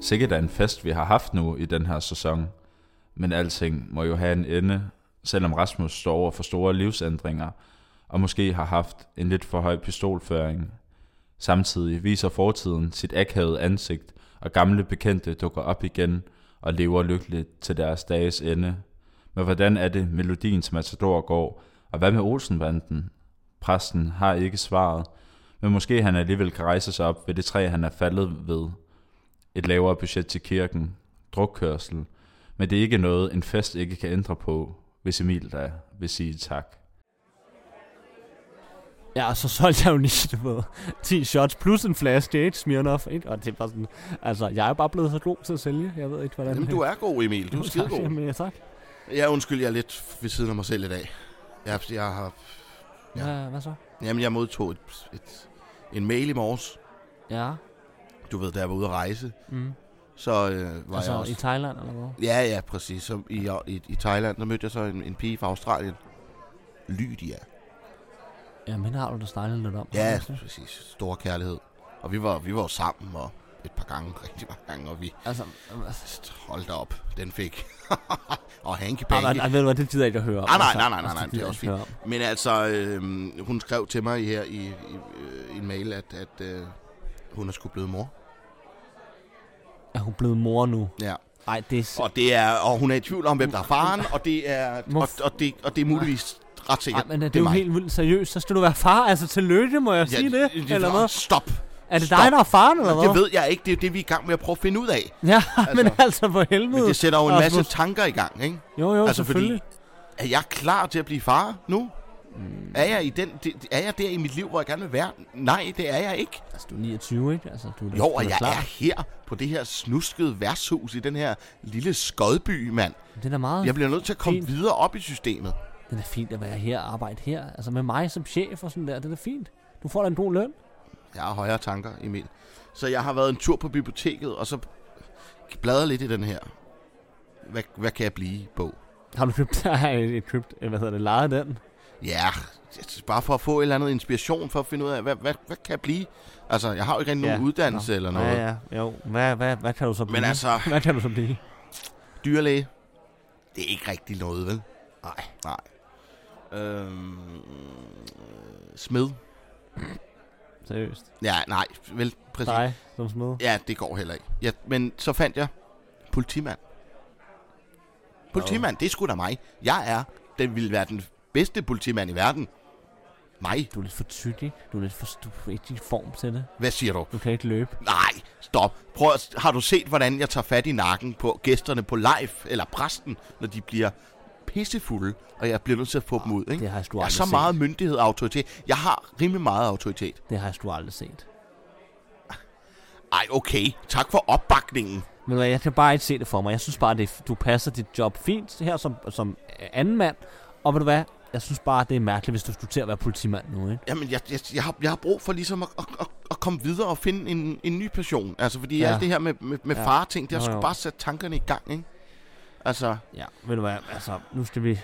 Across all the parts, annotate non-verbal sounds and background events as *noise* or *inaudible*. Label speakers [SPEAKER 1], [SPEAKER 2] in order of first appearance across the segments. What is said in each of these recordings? [SPEAKER 1] sikkert er en fest, vi har haft nu i den her sæson, men alting må jo have en ende, selvom Rasmus står over for store livsændringer, og måske har haft en lidt for høj pistolføring. Samtidig viser fortiden sit akavede ansigt, og gamle bekendte dukker op igen og lever lykkeligt til deres dages ende. Men hvordan er det, melodiens matador går, og hvad med Olsenbanden? Præsten har ikke svaret, men måske han alligevel kan rejse sig op ved det træ, han er faldet ved. Et lavere budget til kirken, drukkørsel, men det er ikke noget, en fest ikke kan ændre på, hvis Emil da vil sige tak.
[SPEAKER 2] Ja, så solgte jeg jo lige, du ved, 10 shots plus en flaske Jade Smirnoff, ikke? Og det er bare sådan, altså, jeg er bare blevet så god til at sælge, jeg ved ikke, hvordan...
[SPEAKER 3] Jamen, du er god, Emil. Du er skidegod.
[SPEAKER 2] Jamen, ja, *laughs* tak.
[SPEAKER 3] Ja, undskyld, jeg er lidt ved siden af mig selv i dag. Jeg, jeg har... Ja.
[SPEAKER 2] Ja. Hvad, hvad så?
[SPEAKER 3] Jamen, jeg modtog et, et, en mail i morges.
[SPEAKER 2] Ja,
[SPEAKER 3] Du ved, da jeg var ude at rejse,
[SPEAKER 2] mm.
[SPEAKER 3] så øh, var
[SPEAKER 2] altså,
[SPEAKER 3] jeg også...
[SPEAKER 2] i Thailand eller hvad?
[SPEAKER 3] Ja, ja, præcis. Så i, i, i Thailand, der mødte jeg så en, en pige fra Australien. Lydia.
[SPEAKER 2] Ja, men har du da snakket lidt om.
[SPEAKER 3] Ja,
[SPEAKER 2] Altså,
[SPEAKER 3] præcis. Stor kærlighed. Og vi var, vi var jo sammen og et par gange, rigtig mange gange, og vi...
[SPEAKER 2] Altså,
[SPEAKER 3] Hold da op, den fik. *laughs* og hanky
[SPEAKER 2] nej, nej,
[SPEAKER 3] panky.
[SPEAKER 2] nej, ved du Ah, hvad, det gider jeg ikke at høre om.
[SPEAKER 3] Ah, nej,
[SPEAKER 2] altså.
[SPEAKER 3] nej, nej, nej,
[SPEAKER 2] Altså,
[SPEAKER 3] nej, det er
[SPEAKER 2] gider
[SPEAKER 3] også
[SPEAKER 2] jeg ikke høre
[SPEAKER 3] Men altså, øh, hun skrev til mig her i, i øh, en mail, at, at øh, hun er sgu blevet mor.
[SPEAKER 2] om. Er hun blevet mor nu?
[SPEAKER 3] Ja.
[SPEAKER 2] Nej, det er... s-
[SPEAKER 3] Og, det er, og hun er i tvivl om, hvem der er faren, og det er,
[SPEAKER 2] Må-
[SPEAKER 3] og, og det, og det er muligvis ret
[SPEAKER 2] Ej,
[SPEAKER 3] sikkert.
[SPEAKER 2] men er det,
[SPEAKER 3] det
[SPEAKER 2] er jo
[SPEAKER 3] mig.
[SPEAKER 2] helt vildt seriøst. Så skal du være far. Altså, tillykke, må jeg ja, sige det, det, eller hvad?
[SPEAKER 3] Stop.
[SPEAKER 2] Er det
[SPEAKER 3] stop.
[SPEAKER 2] dig, der er faren, eller
[SPEAKER 3] Det
[SPEAKER 2] hvad?
[SPEAKER 3] ved jeg ikke. Det er det, vi er i gang med at prøve at finde ud af.
[SPEAKER 2] Ja, *laughs* men
[SPEAKER 3] Altså.
[SPEAKER 2] altså, for helvede.
[SPEAKER 3] Men det sætter jo en masse
[SPEAKER 2] Rasmus.
[SPEAKER 3] tanker i gang, ikke?
[SPEAKER 2] Jo, jo,
[SPEAKER 3] altså, fordi-
[SPEAKER 2] selvfølgelig.
[SPEAKER 3] Er jeg klar til at blive far nu?
[SPEAKER 2] Mm.
[SPEAKER 3] Er jeg, i den, det- er jeg der i mit liv, hvor jeg gerne vil være? Nej, det er jeg ikke.
[SPEAKER 2] Altså, du er 29, ikke? Altså, du er da-
[SPEAKER 3] Jo,
[SPEAKER 2] du
[SPEAKER 3] og
[SPEAKER 2] da
[SPEAKER 3] jeg
[SPEAKER 2] klar.
[SPEAKER 3] er her på det her snuskede værtshus i den her lille skodby, mand.
[SPEAKER 2] Det er da meget...
[SPEAKER 3] Jeg bliver nødt til at komme
[SPEAKER 2] Fint.
[SPEAKER 3] videre op i systemet.
[SPEAKER 2] Det er da fint at være her og arbejde her. Altså, med mig som chef og sådan der, det er da fint. Du får da en god løn.
[SPEAKER 3] Jeg har højere tanker, Emil. Så jeg har været en tur på biblioteket, og så bladrer lidt i den her. Hvad, hvad kan jeg blive på?
[SPEAKER 2] Har du købt... *laughs* Nej, ikke købt... øh, Hvad hedder det? Lejet den?
[SPEAKER 3] Ja, det er bare for at få et eller andet inspiration for at finde ud af, hvad, hvad, hvad kan jeg blive? Altså, jeg har jo ikke rigtig nogen
[SPEAKER 2] Ja,
[SPEAKER 3] uddannelse eller noget.
[SPEAKER 2] Ja, Mhm. ja. Jo, hvad, hvad, hvad kan du så blive?
[SPEAKER 3] Men altså,
[SPEAKER 2] *laughs* Hvad kan du så blive?
[SPEAKER 3] dyrlæge, det er ikke rigtig noget, vel? Nej. Nej. Øhm, smed.
[SPEAKER 2] Seriøst.
[SPEAKER 3] Ja, nej, vel, præcis.
[SPEAKER 2] Dig som smed.
[SPEAKER 3] Altså- Ja, det går heller ikke. Ja, men så fandt jeg politimand. Politimand, det er sgu da mig. Jeg er, den ville være den bedste politimand i verden. Mig?
[SPEAKER 2] Du er lidt for tyk, ikke? Du er lidt for... Du er ikke i form til det.
[SPEAKER 3] Hvad siger du?
[SPEAKER 2] Du kan ikke løbe.
[SPEAKER 3] Nej, stop. Prøv at, har du set, hvordan jeg tager fat i nakken på gæsterne på live, eller præsten, når de bliver pissefulde, og jeg bliver nødt til at få dem ud, ikke?
[SPEAKER 2] Ah, Det har jeg sgu
[SPEAKER 3] Jeg har
[SPEAKER 2] aldrig
[SPEAKER 3] så
[SPEAKER 2] set.
[SPEAKER 3] meget myndighed og autoritet. Jeg har rimelig meget autoritet.
[SPEAKER 2] Det har jeg sgu aldrig set.
[SPEAKER 3] Ej, okay. Tak for opbakningen.
[SPEAKER 2] Men hvad, jeg kan bare ikke se det for mig. Jeg synes bare, det, du passer dit job fint her som, som anden mand. Og ved du hvad? Jeg synes bare, det er mærkeligt, hvis du skulle til at være politimand nu, ikke?
[SPEAKER 3] Jamen, jeg, jeg, jeg, har, jeg har brug for ligesom at, at, at, at komme videre og finde en, en ny person. Altså, fordi
[SPEAKER 2] Ja.
[SPEAKER 3] ja. alt det her med, med, med
[SPEAKER 2] Ja.
[SPEAKER 3] ja. far-ting, det har
[SPEAKER 2] Jo, jo.
[SPEAKER 3] sgu bare sat tankerne i gang, ikke? Altså,
[SPEAKER 2] Ja, ved du hvad? Altså, nu skal vi...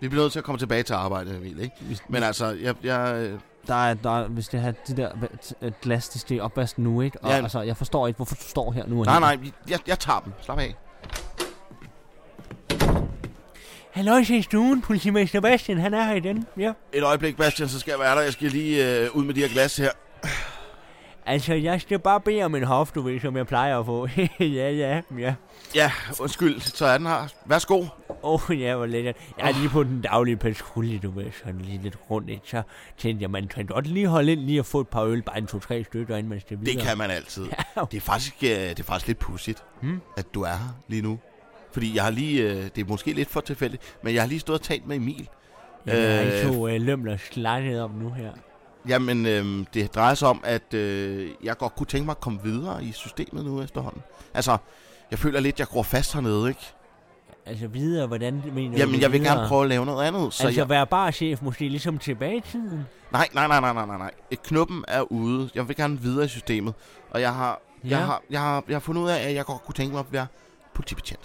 [SPEAKER 3] vi bliver nødt til at komme tilbage til arbejdet, Emil, ikke?
[SPEAKER 2] vi
[SPEAKER 3] Men altså, jeg, jeg, øh,
[SPEAKER 2] der er, der er, vi skal have de der va- t- øh, glas, de skal i opvasken nu, ikke? Og ja.
[SPEAKER 3] Ja.
[SPEAKER 2] altså, jeg forstår ikke, hvorfor du står her nu. og
[SPEAKER 3] nej,
[SPEAKER 2] her.
[SPEAKER 3] nej, vi- jeg, jeg tager dem. Slap af.
[SPEAKER 2] Hallo, i stuen, politimand Sebastian, han er her igen. Ja.
[SPEAKER 3] Et øjeblik, Bastian, så skal jeg være der. Jeg skal lige øh, ud med de her glas her.
[SPEAKER 2] Altså, jeg skal bare bede om en hof, du ved, som jeg plejer at få. *laughs* ja, ja, ja.
[SPEAKER 3] Ja, undskyld, så er den her. Værsgo.
[SPEAKER 2] Åh, *laughs* oh, ja, hvor lækkert. Jeg er lige på den daglige patrulje, du ved, sådan lige lidt rundt, ikke? Så tænkte jeg, man kan godt lige holde ind lige og få et par øl, bare en to-tre stykker, inden man skal videre.
[SPEAKER 3] Det
[SPEAKER 2] *laughs*
[SPEAKER 3] kan man altid.
[SPEAKER 2] Ja.
[SPEAKER 3] Det er faktisk, øh, det er faktisk lidt pudsigt,
[SPEAKER 2] Hmm?
[SPEAKER 3] hmm? at du er her lige nu. Fordi jeg har lige, øh, det er måske lidt for tilfældigt, men jeg har lige stået og talt med Emil.
[SPEAKER 2] Jeg har ikke
[SPEAKER 3] Øh,
[SPEAKER 2] to øh, lømler slanget om nu her.
[SPEAKER 3] Jamen, øh, det drejer sig om, at øh, jeg godt kunne tænke mig at komme videre i systemet nu efterhånden. Altså, jeg føler lidt, jeg gror fast hernede, ikke?
[SPEAKER 2] Altså, videre, hvordan mener du
[SPEAKER 3] Jamen, jeg vil
[SPEAKER 2] videre?
[SPEAKER 3] gerne prøve at lave noget andet. Så
[SPEAKER 2] altså,
[SPEAKER 3] jeg...
[SPEAKER 2] være barchef måske ligesom tilbage i tiden?
[SPEAKER 3] Nej, nej, nej, nej, nej, nej, nej. Øh, Knuppen er ude. Jeg vil gerne videre i systemet. Og jeg har, jeg,
[SPEAKER 2] Ja.
[SPEAKER 3] har, jeg, har, jeg har fundet ud af, at jeg godt kunne tænke mig at være politibetjent.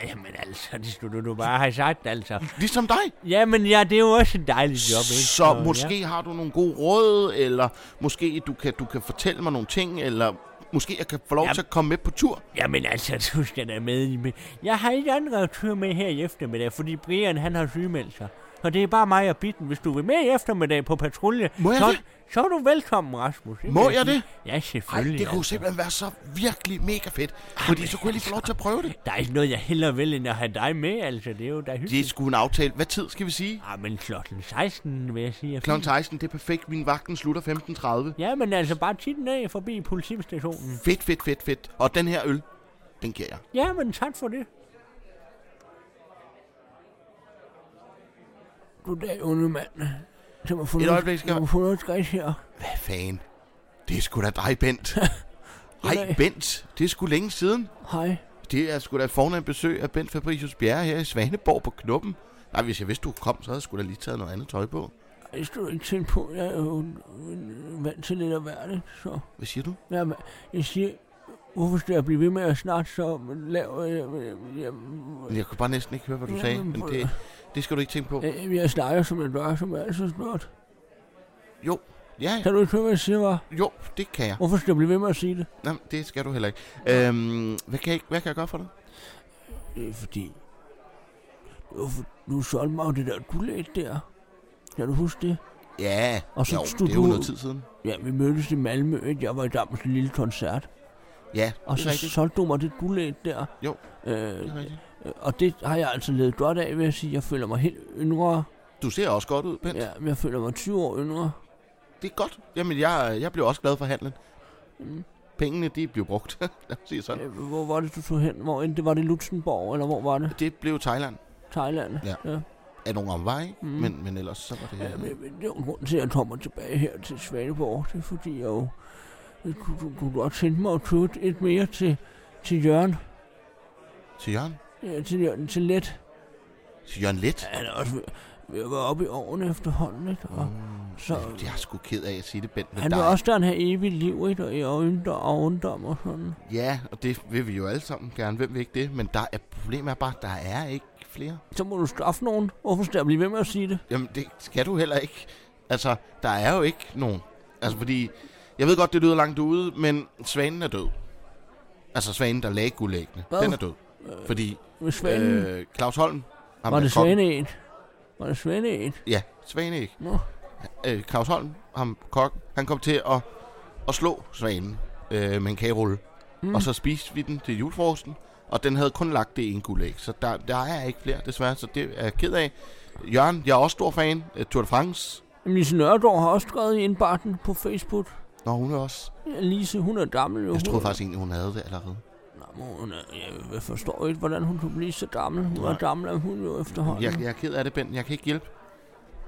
[SPEAKER 2] Ej, men altså, det skulle du, du bare have sagt, altså.
[SPEAKER 3] Ligesom dig!
[SPEAKER 2] Jamen ja, det er jo også et dejligt job, ikke?
[SPEAKER 3] Så måske har du nogle gode råd, eller måske du kan, du kan fortælle mig nogle ting, eller måske jeg kan få lov
[SPEAKER 2] Ja.
[SPEAKER 3] ja. til at komme med på tur.
[SPEAKER 2] Jamen altså, *laughs* du skal da med i med. Jeg har ikke andre tur med her i eftermiddag, fordi Brian han har sygemeldt sig. Så det er bare mig og Bitten. Hvis du vil med i eftermiddag på patrulje,
[SPEAKER 3] Må jeg
[SPEAKER 2] så,
[SPEAKER 3] det?
[SPEAKER 2] så er du velkommen, Rasmus. Det
[SPEAKER 3] Må
[SPEAKER 2] vil
[SPEAKER 3] jeg
[SPEAKER 2] sige.
[SPEAKER 3] det?
[SPEAKER 2] Ja,
[SPEAKER 3] Ej,
[SPEAKER 2] selvfølgelig.
[SPEAKER 3] det kunne
[SPEAKER 2] altså.
[SPEAKER 3] simpelthen være så virkelig mega fedt. Fordi så kunne jeg lige få lov til at prøve det.
[SPEAKER 2] Der er ikke noget, jeg hellere vil, end at have dig med, altså. Det er jo da
[SPEAKER 3] Det er
[SPEAKER 2] hyggeligt.
[SPEAKER 3] sgu en aftale. Hvad tid skal vi sige?
[SPEAKER 2] Ah, men klokken 16, vil jeg sige. er
[SPEAKER 3] Klokken
[SPEAKER 2] fint.
[SPEAKER 3] 16, det er perfekt. Min vagten slutter 15.30.
[SPEAKER 2] Ja, men altså bare tit af forbi politistationen.
[SPEAKER 3] Fedt, fedt, fedt, fedt. Og den her øl, den giver jeg.
[SPEAKER 2] Ja, men tak for det. Goddag, unge mand. Det var
[SPEAKER 3] Et øjeblik, skal-
[SPEAKER 2] Det var her.
[SPEAKER 3] Hvad fanden? Det er sgu da dig, *laughs* Bent. Hej,
[SPEAKER 2] Goddag.
[SPEAKER 3] Bent. Det er sgu længe siden.
[SPEAKER 2] Hej.
[SPEAKER 3] Det er sgu da et fornemt besøg af Bent Fabricius Bjerre her i Svaneborg på Knuppen. Nej, hvis jeg vidste, du kom, så havde jeg sgu da lige taget noget andet tøj på.
[SPEAKER 2] Jeg stod ikke tænke på, jeg er jo øh, vant til lidt af hverdag, så...
[SPEAKER 3] Hvad siger du?
[SPEAKER 2] Jamen, jeg siger, hvorfor skal jeg blive ved med at snakke så lav... øh, øh, øh,
[SPEAKER 3] Jeg kunne bare næsten ikke høre, hvad du
[SPEAKER 2] Jamen,
[SPEAKER 3] sagde, men
[SPEAKER 2] prøv-
[SPEAKER 3] det, det skal du ikke tænke på.
[SPEAKER 2] øh, øh, Jeg snakker, som jeg gør, som jeg altid snart.
[SPEAKER 3] Jo, ja,
[SPEAKER 2] Kan du ikke høre, hvad jeg siger, hva'?
[SPEAKER 3] jo, det kan jeg.
[SPEAKER 2] Hvorfor skal jeg blive ved med at sige det?
[SPEAKER 3] Nej, det skal du heller ikke. Øhm, hvad, kan jeg, hvad kan jeg gøre for dig?
[SPEAKER 2] Det er Øh, fordi... Det var for, nu solgte mig jo det der guldæg der. Kan du huske det?
[SPEAKER 3] Ja,
[SPEAKER 2] Og så
[SPEAKER 3] jo,
[SPEAKER 2] stod
[SPEAKER 3] det er jo
[SPEAKER 2] du-
[SPEAKER 3] noget tid siden.
[SPEAKER 2] Ja, vi mødtes i Malmø, ikke? Jeg var i gang med sådan en lille koncert.
[SPEAKER 3] Ja,
[SPEAKER 2] Og
[SPEAKER 3] det
[SPEAKER 2] så
[SPEAKER 3] er rigtigt.
[SPEAKER 2] solgte du mig det guldæg der.
[SPEAKER 3] Jo,
[SPEAKER 2] Øh,
[SPEAKER 3] Det er rigtigt.
[SPEAKER 2] øh, og det har jeg altså levet godt af, vil jeg sige. Jeg føler mig helt yngre.
[SPEAKER 3] Du ser også godt ud, Bent. Ja.
[SPEAKER 2] Ja, men jeg føler mig 20 år yngre.
[SPEAKER 3] Det er godt. Jamen, jeg, jeg blev også glad for handlen.
[SPEAKER 2] Mm.
[SPEAKER 3] Pengene, de blev brugt. *laughs* Lad os sige sådan.
[SPEAKER 2] Øh, Hvor var det, du tog hen? Hvor end det var det Luxembourg, eller hvor var det?
[SPEAKER 3] Det blev Thailand
[SPEAKER 2] Thailand?
[SPEAKER 3] Ja.
[SPEAKER 2] ja.
[SPEAKER 3] af nogle omveje, ikke?
[SPEAKER 2] Mm.
[SPEAKER 3] men, men ellers så var det... øh,
[SPEAKER 2] Ja, men, men det er jo en grund til, at jeg kommer tilbage her til Svaneborg. Det er fordi, jeg jo jeg kunne, kunne, kunne godt tænke mig at købe et mere til, til Jørgen.
[SPEAKER 3] Til Jørgen?
[SPEAKER 2] Ja, til Jørgen, til Let.
[SPEAKER 3] Til Jørgen Let?
[SPEAKER 2] Han er også ved, ved at være oppe i årene efterhånden, ikke? Og
[SPEAKER 3] Mm.
[SPEAKER 2] så-
[SPEAKER 3] Så... Jeg er sgu ked af at sige det, Bent, Mm. men
[SPEAKER 2] han vil
[SPEAKER 3] der er-
[SPEAKER 2] også gerne have evigt liv, ikke? Og i øjendom og ungdom og sådan.
[SPEAKER 3] Ja, og det vil vi jo alle sammen gerne. Hvem vil ikke det? Men der er, problemet er bare, at der er ikke flere.
[SPEAKER 2] Så må du straffe nogen. Hvorfor skal jeg blive ved med at sige det?
[SPEAKER 3] Jamen, det skal du heller ikke. Altså, der er jo ikke nogen. Altså, fordi... Jeg ved godt, det lyder langt ude, men svanen er død. Altså, svanen, der lagde guldæggene.
[SPEAKER 2] Hvad?
[SPEAKER 3] Den er død. Fordi
[SPEAKER 2] Øh, Med Svanen? Øh,
[SPEAKER 3] øh, Claus Holm... ham
[SPEAKER 2] var
[SPEAKER 3] der
[SPEAKER 2] det
[SPEAKER 3] kokken-
[SPEAKER 2] Svaneæg? Var det Svaneæg?
[SPEAKER 3] Ja, svaneæg.
[SPEAKER 2] Nå.
[SPEAKER 3] Øh, Claus Holm, ham kok, han kom til at, at slå svanen øh, med en kagerulle.
[SPEAKER 2] Mm.
[SPEAKER 3] Mm. Og så spiste vi den til julefrokosten, og den havde kun lagt det ene guldæg. Så der, der er ikke flere, desværre, så det er jeg ked af. Jørgen, jeg er også stor fan. Øh, Tour de France.
[SPEAKER 2] Jamen, Lise Nørgaard har også skrevet i indbakken på Facebook.
[SPEAKER 3] Nå, hun er også...
[SPEAKER 2] Ja, Lise, hun er gammel jo.
[SPEAKER 3] Jeg troede
[SPEAKER 2] Hun-
[SPEAKER 3] faktisk egentlig, hun havde det allerede.
[SPEAKER 2] Nå, men hun er, jeg jeg forstår ikke, hvordan hun kunne blive så gammel. Hun er
[SPEAKER 3] Nej.
[SPEAKER 2] gammel, er hun jo efterhånden.
[SPEAKER 3] Jeg, jeg er ked af det, Ben. Jeg kan ikke hjælpe.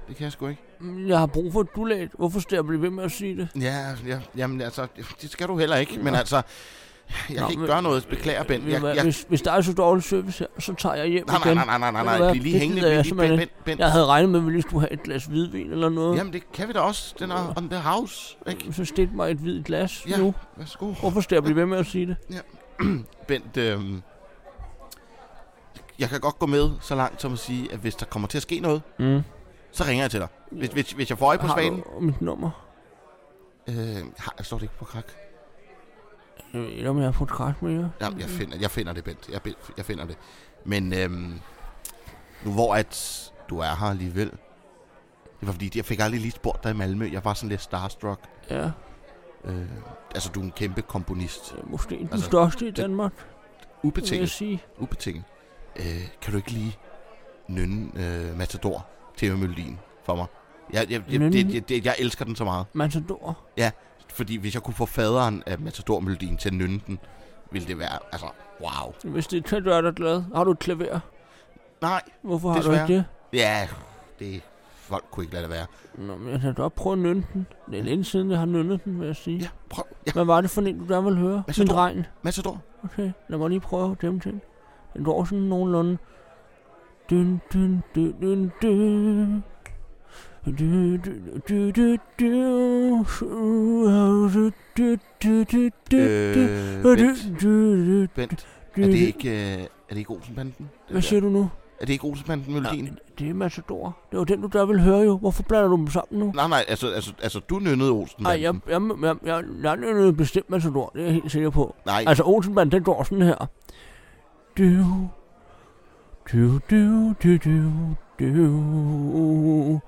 [SPEAKER 3] Det kan jeg sgu ikke.
[SPEAKER 2] Mm, jeg har brug for et gulag. Hvorfor skal jeg blive ved med at sige det?
[SPEAKER 3] Ja, ja, jamen altså, det skal du heller ikke. Men altså, jeg
[SPEAKER 2] Nå,
[SPEAKER 3] kan ikke
[SPEAKER 2] men-
[SPEAKER 3] gøre noget. Beklager, Ben.
[SPEAKER 2] Ved
[SPEAKER 3] Jeg,
[SPEAKER 2] du hvad,
[SPEAKER 3] jeg,
[SPEAKER 2] Hvis, hvis der er så dårlig service her, så tager jeg hjem
[SPEAKER 3] nej, nej,
[SPEAKER 2] igen.
[SPEAKER 3] nej, nej, nej,
[SPEAKER 2] Ved
[SPEAKER 3] nej,
[SPEAKER 2] du
[SPEAKER 3] nej.
[SPEAKER 2] hvad,
[SPEAKER 3] Bliv lige
[SPEAKER 2] det
[SPEAKER 3] hængende.
[SPEAKER 2] gider jeg
[SPEAKER 3] Bliv lige, ben,
[SPEAKER 2] simpelthen
[SPEAKER 3] ben, ben.
[SPEAKER 2] Jeg havde regnet med, at vi lige skulle have et glas hvidvin eller noget.
[SPEAKER 3] Jamen, det kan vi da også. Den er on the house, ikke?
[SPEAKER 2] Så stik mig et hvidt glas
[SPEAKER 3] Ja.
[SPEAKER 2] nu.
[SPEAKER 3] Værsgo.
[SPEAKER 2] Hvorfor skal jeg blive ved med at sige det?
[SPEAKER 3] Bent, øh, jeg kan godt gå med så langt som at sige, at hvis der kommer til at ske noget,
[SPEAKER 2] Mm.
[SPEAKER 3] så ringer jeg til dig. Hvis, hvis, hvis jeg får øje på
[SPEAKER 2] Har
[SPEAKER 3] svanen...
[SPEAKER 2] du mit nummer?
[SPEAKER 3] Øh, har, jeg står det ikke på krak.
[SPEAKER 2] Jeg ved ikke, om Øh, jeg har fået kræft med jer.
[SPEAKER 3] Ja, jeg, finder, jeg finder det, Bent. Jeg, be- jeg finder det. Men øh, nu hvor at du er her alligevel... Det var fordi, jeg fik aldrig lige spurgt dig i Malmø. Jeg var sådan lidt starstruck.
[SPEAKER 2] Ja,
[SPEAKER 3] Øh, altså, du er en kæmpe komponist.
[SPEAKER 2] øh, måske den
[SPEAKER 3] Altså,
[SPEAKER 2] største i Danmark, vil jeg
[SPEAKER 3] Ubetinget.
[SPEAKER 2] sige.
[SPEAKER 3] Ubetinget. Øh, kan du ikke lige nynne øh, Matador, Theo Møllin, for mig? Jeg, jeg, jeg,
[SPEAKER 2] Nynne?
[SPEAKER 3] det, jeg, det, jeg elsker den så meget.
[SPEAKER 2] Matador.
[SPEAKER 3] Fordi hvis jeg kunne få faderen af Matador Møllin til at nynne den, ville det være, altså, wow.
[SPEAKER 2] Hvis det kan gøre dig glad, har du et klaver?
[SPEAKER 3] Nej,
[SPEAKER 2] Hvorfor har
[SPEAKER 3] Desværre.
[SPEAKER 2] du ikke det?
[SPEAKER 3] ja, det folk kunne ikke lade det være.
[SPEAKER 2] Nå, men jeg kan godt prøve at nynne den. Det er længe siden, jeg har nynnet den, vil jeg sige.
[SPEAKER 3] Ja, prøv. Ja,
[SPEAKER 2] Hvad var det for en, du gerne ville høre?
[SPEAKER 3] Hvad så
[SPEAKER 2] Min
[SPEAKER 3] tror-
[SPEAKER 2] dreng.
[SPEAKER 3] Matador.
[SPEAKER 2] Okay, lad mig lige prøve dem til. Den går sådan nogenlunde. Dyn, dyn, dyn, dyn, dyn. Du, du, du, du, du, du, du, du, du, du.
[SPEAKER 3] Øh,
[SPEAKER 2] Du,
[SPEAKER 3] Bent,
[SPEAKER 2] du, du, du,
[SPEAKER 3] Bent,
[SPEAKER 2] du, du.
[SPEAKER 3] er det ikke, øh, er det ikke Olsenbanden? Det
[SPEAKER 2] Hvad
[SPEAKER 3] der?
[SPEAKER 2] siger du nu?
[SPEAKER 3] Er det ikke Olsenbanden-melodien?
[SPEAKER 2] Nej, det er Matador. Det var den, du der ville høre jo. Hvorfor blander du dem sammen nu?
[SPEAKER 3] Nej, nej, altså, altså, altså du nynnede Olsen.
[SPEAKER 2] Nej, jeg, jeg, jeg, jeg, jeg, jeg er bestemt Matador. Det er jeg helt sikker på.
[SPEAKER 3] nej,
[SPEAKER 2] Altså Olsenbanden, den går sådan her. Du, du, du, du, du, du,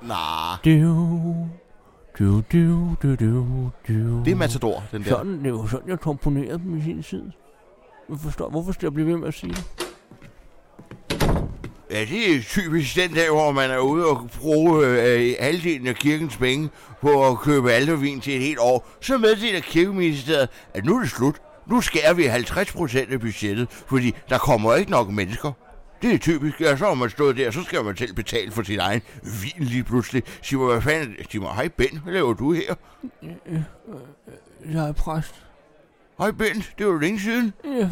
[SPEAKER 3] nej.
[SPEAKER 2] du, du, du, du, du, du.
[SPEAKER 3] Det er Matador, den der.
[SPEAKER 2] Sådan, det er jo sådan, jeg komponerede dem i sin tid. Jeg forstår, hvorfor skal jeg blive ved med at sige det?
[SPEAKER 3] Ja, det er typisk den dag, hvor man er ude og bruge øh, halvdelen af kirkens penge på at købe aldervin til et helt år. Så meddeler kirkeministeriet, at nu er det slut. Nu skærer vi 50% af budgettet, fordi der kommer ikke nok mennesker. Det er typisk, ja, så har man stået der, så skal man selv betale for sin egen vin lige pludselig. Sig mig, hvad fanden, sig mig, hej Ben, hvad laver du her?
[SPEAKER 2] Jeg er præst.
[SPEAKER 3] Hej Ben, det var jo længe siden.
[SPEAKER 2] Ja,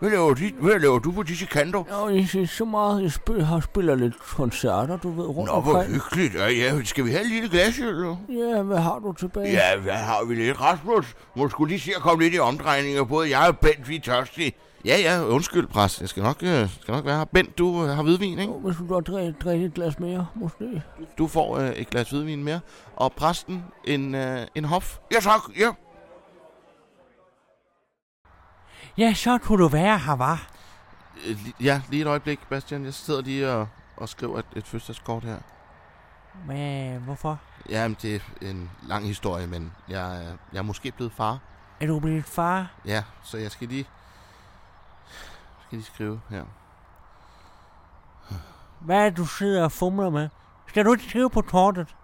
[SPEAKER 3] Hvad laver, dit, hvad laver du på disse kanter?
[SPEAKER 2] og jeg siger så meget, jeg spiller, har spiller lidt koncerter, du ved, rundt
[SPEAKER 3] Nå, hvor
[SPEAKER 2] omkring.
[SPEAKER 3] hyggeligt. Ja, ja, skal vi have en lille glas, eller?
[SPEAKER 2] Ja, hvad har du tilbage?
[SPEAKER 3] Ja, hvad har vi lidt, Rasmus? Må skulle lige se at komme lidt i omdrejninger. Både jeg og Bent, vi er tørstige. Ja, ja, undskyld, præs. Jeg skal nok, øh, skal nok være her. Bent, du øh, har hvidvin, ikke?
[SPEAKER 2] Jo, Hvis du godt drikke, drikke et glas mere, måske.
[SPEAKER 3] Du får øh, et glas hvidvin mere. Og præsten, en, øh, en hof. Ja, tak. Ja.
[SPEAKER 2] Ja, så kunne du være her, var.
[SPEAKER 3] Øh, li- ja, lige et øjeblik, Bastian. Jeg sidder lige og, og skriver et, et fødselskort her.
[SPEAKER 2] Men hvorfor?
[SPEAKER 3] Jamen, det er en lang historie, men jeg, øh, jeg er måske blevet far.
[SPEAKER 2] Er du blevet far?
[SPEAKER 3] Ja, så jeg skal lige... Jeg skal lige skrive her.
[SPEAKER 2] Hvad er det, du sidder og fumler med? Skal du ikke skrive på kortet?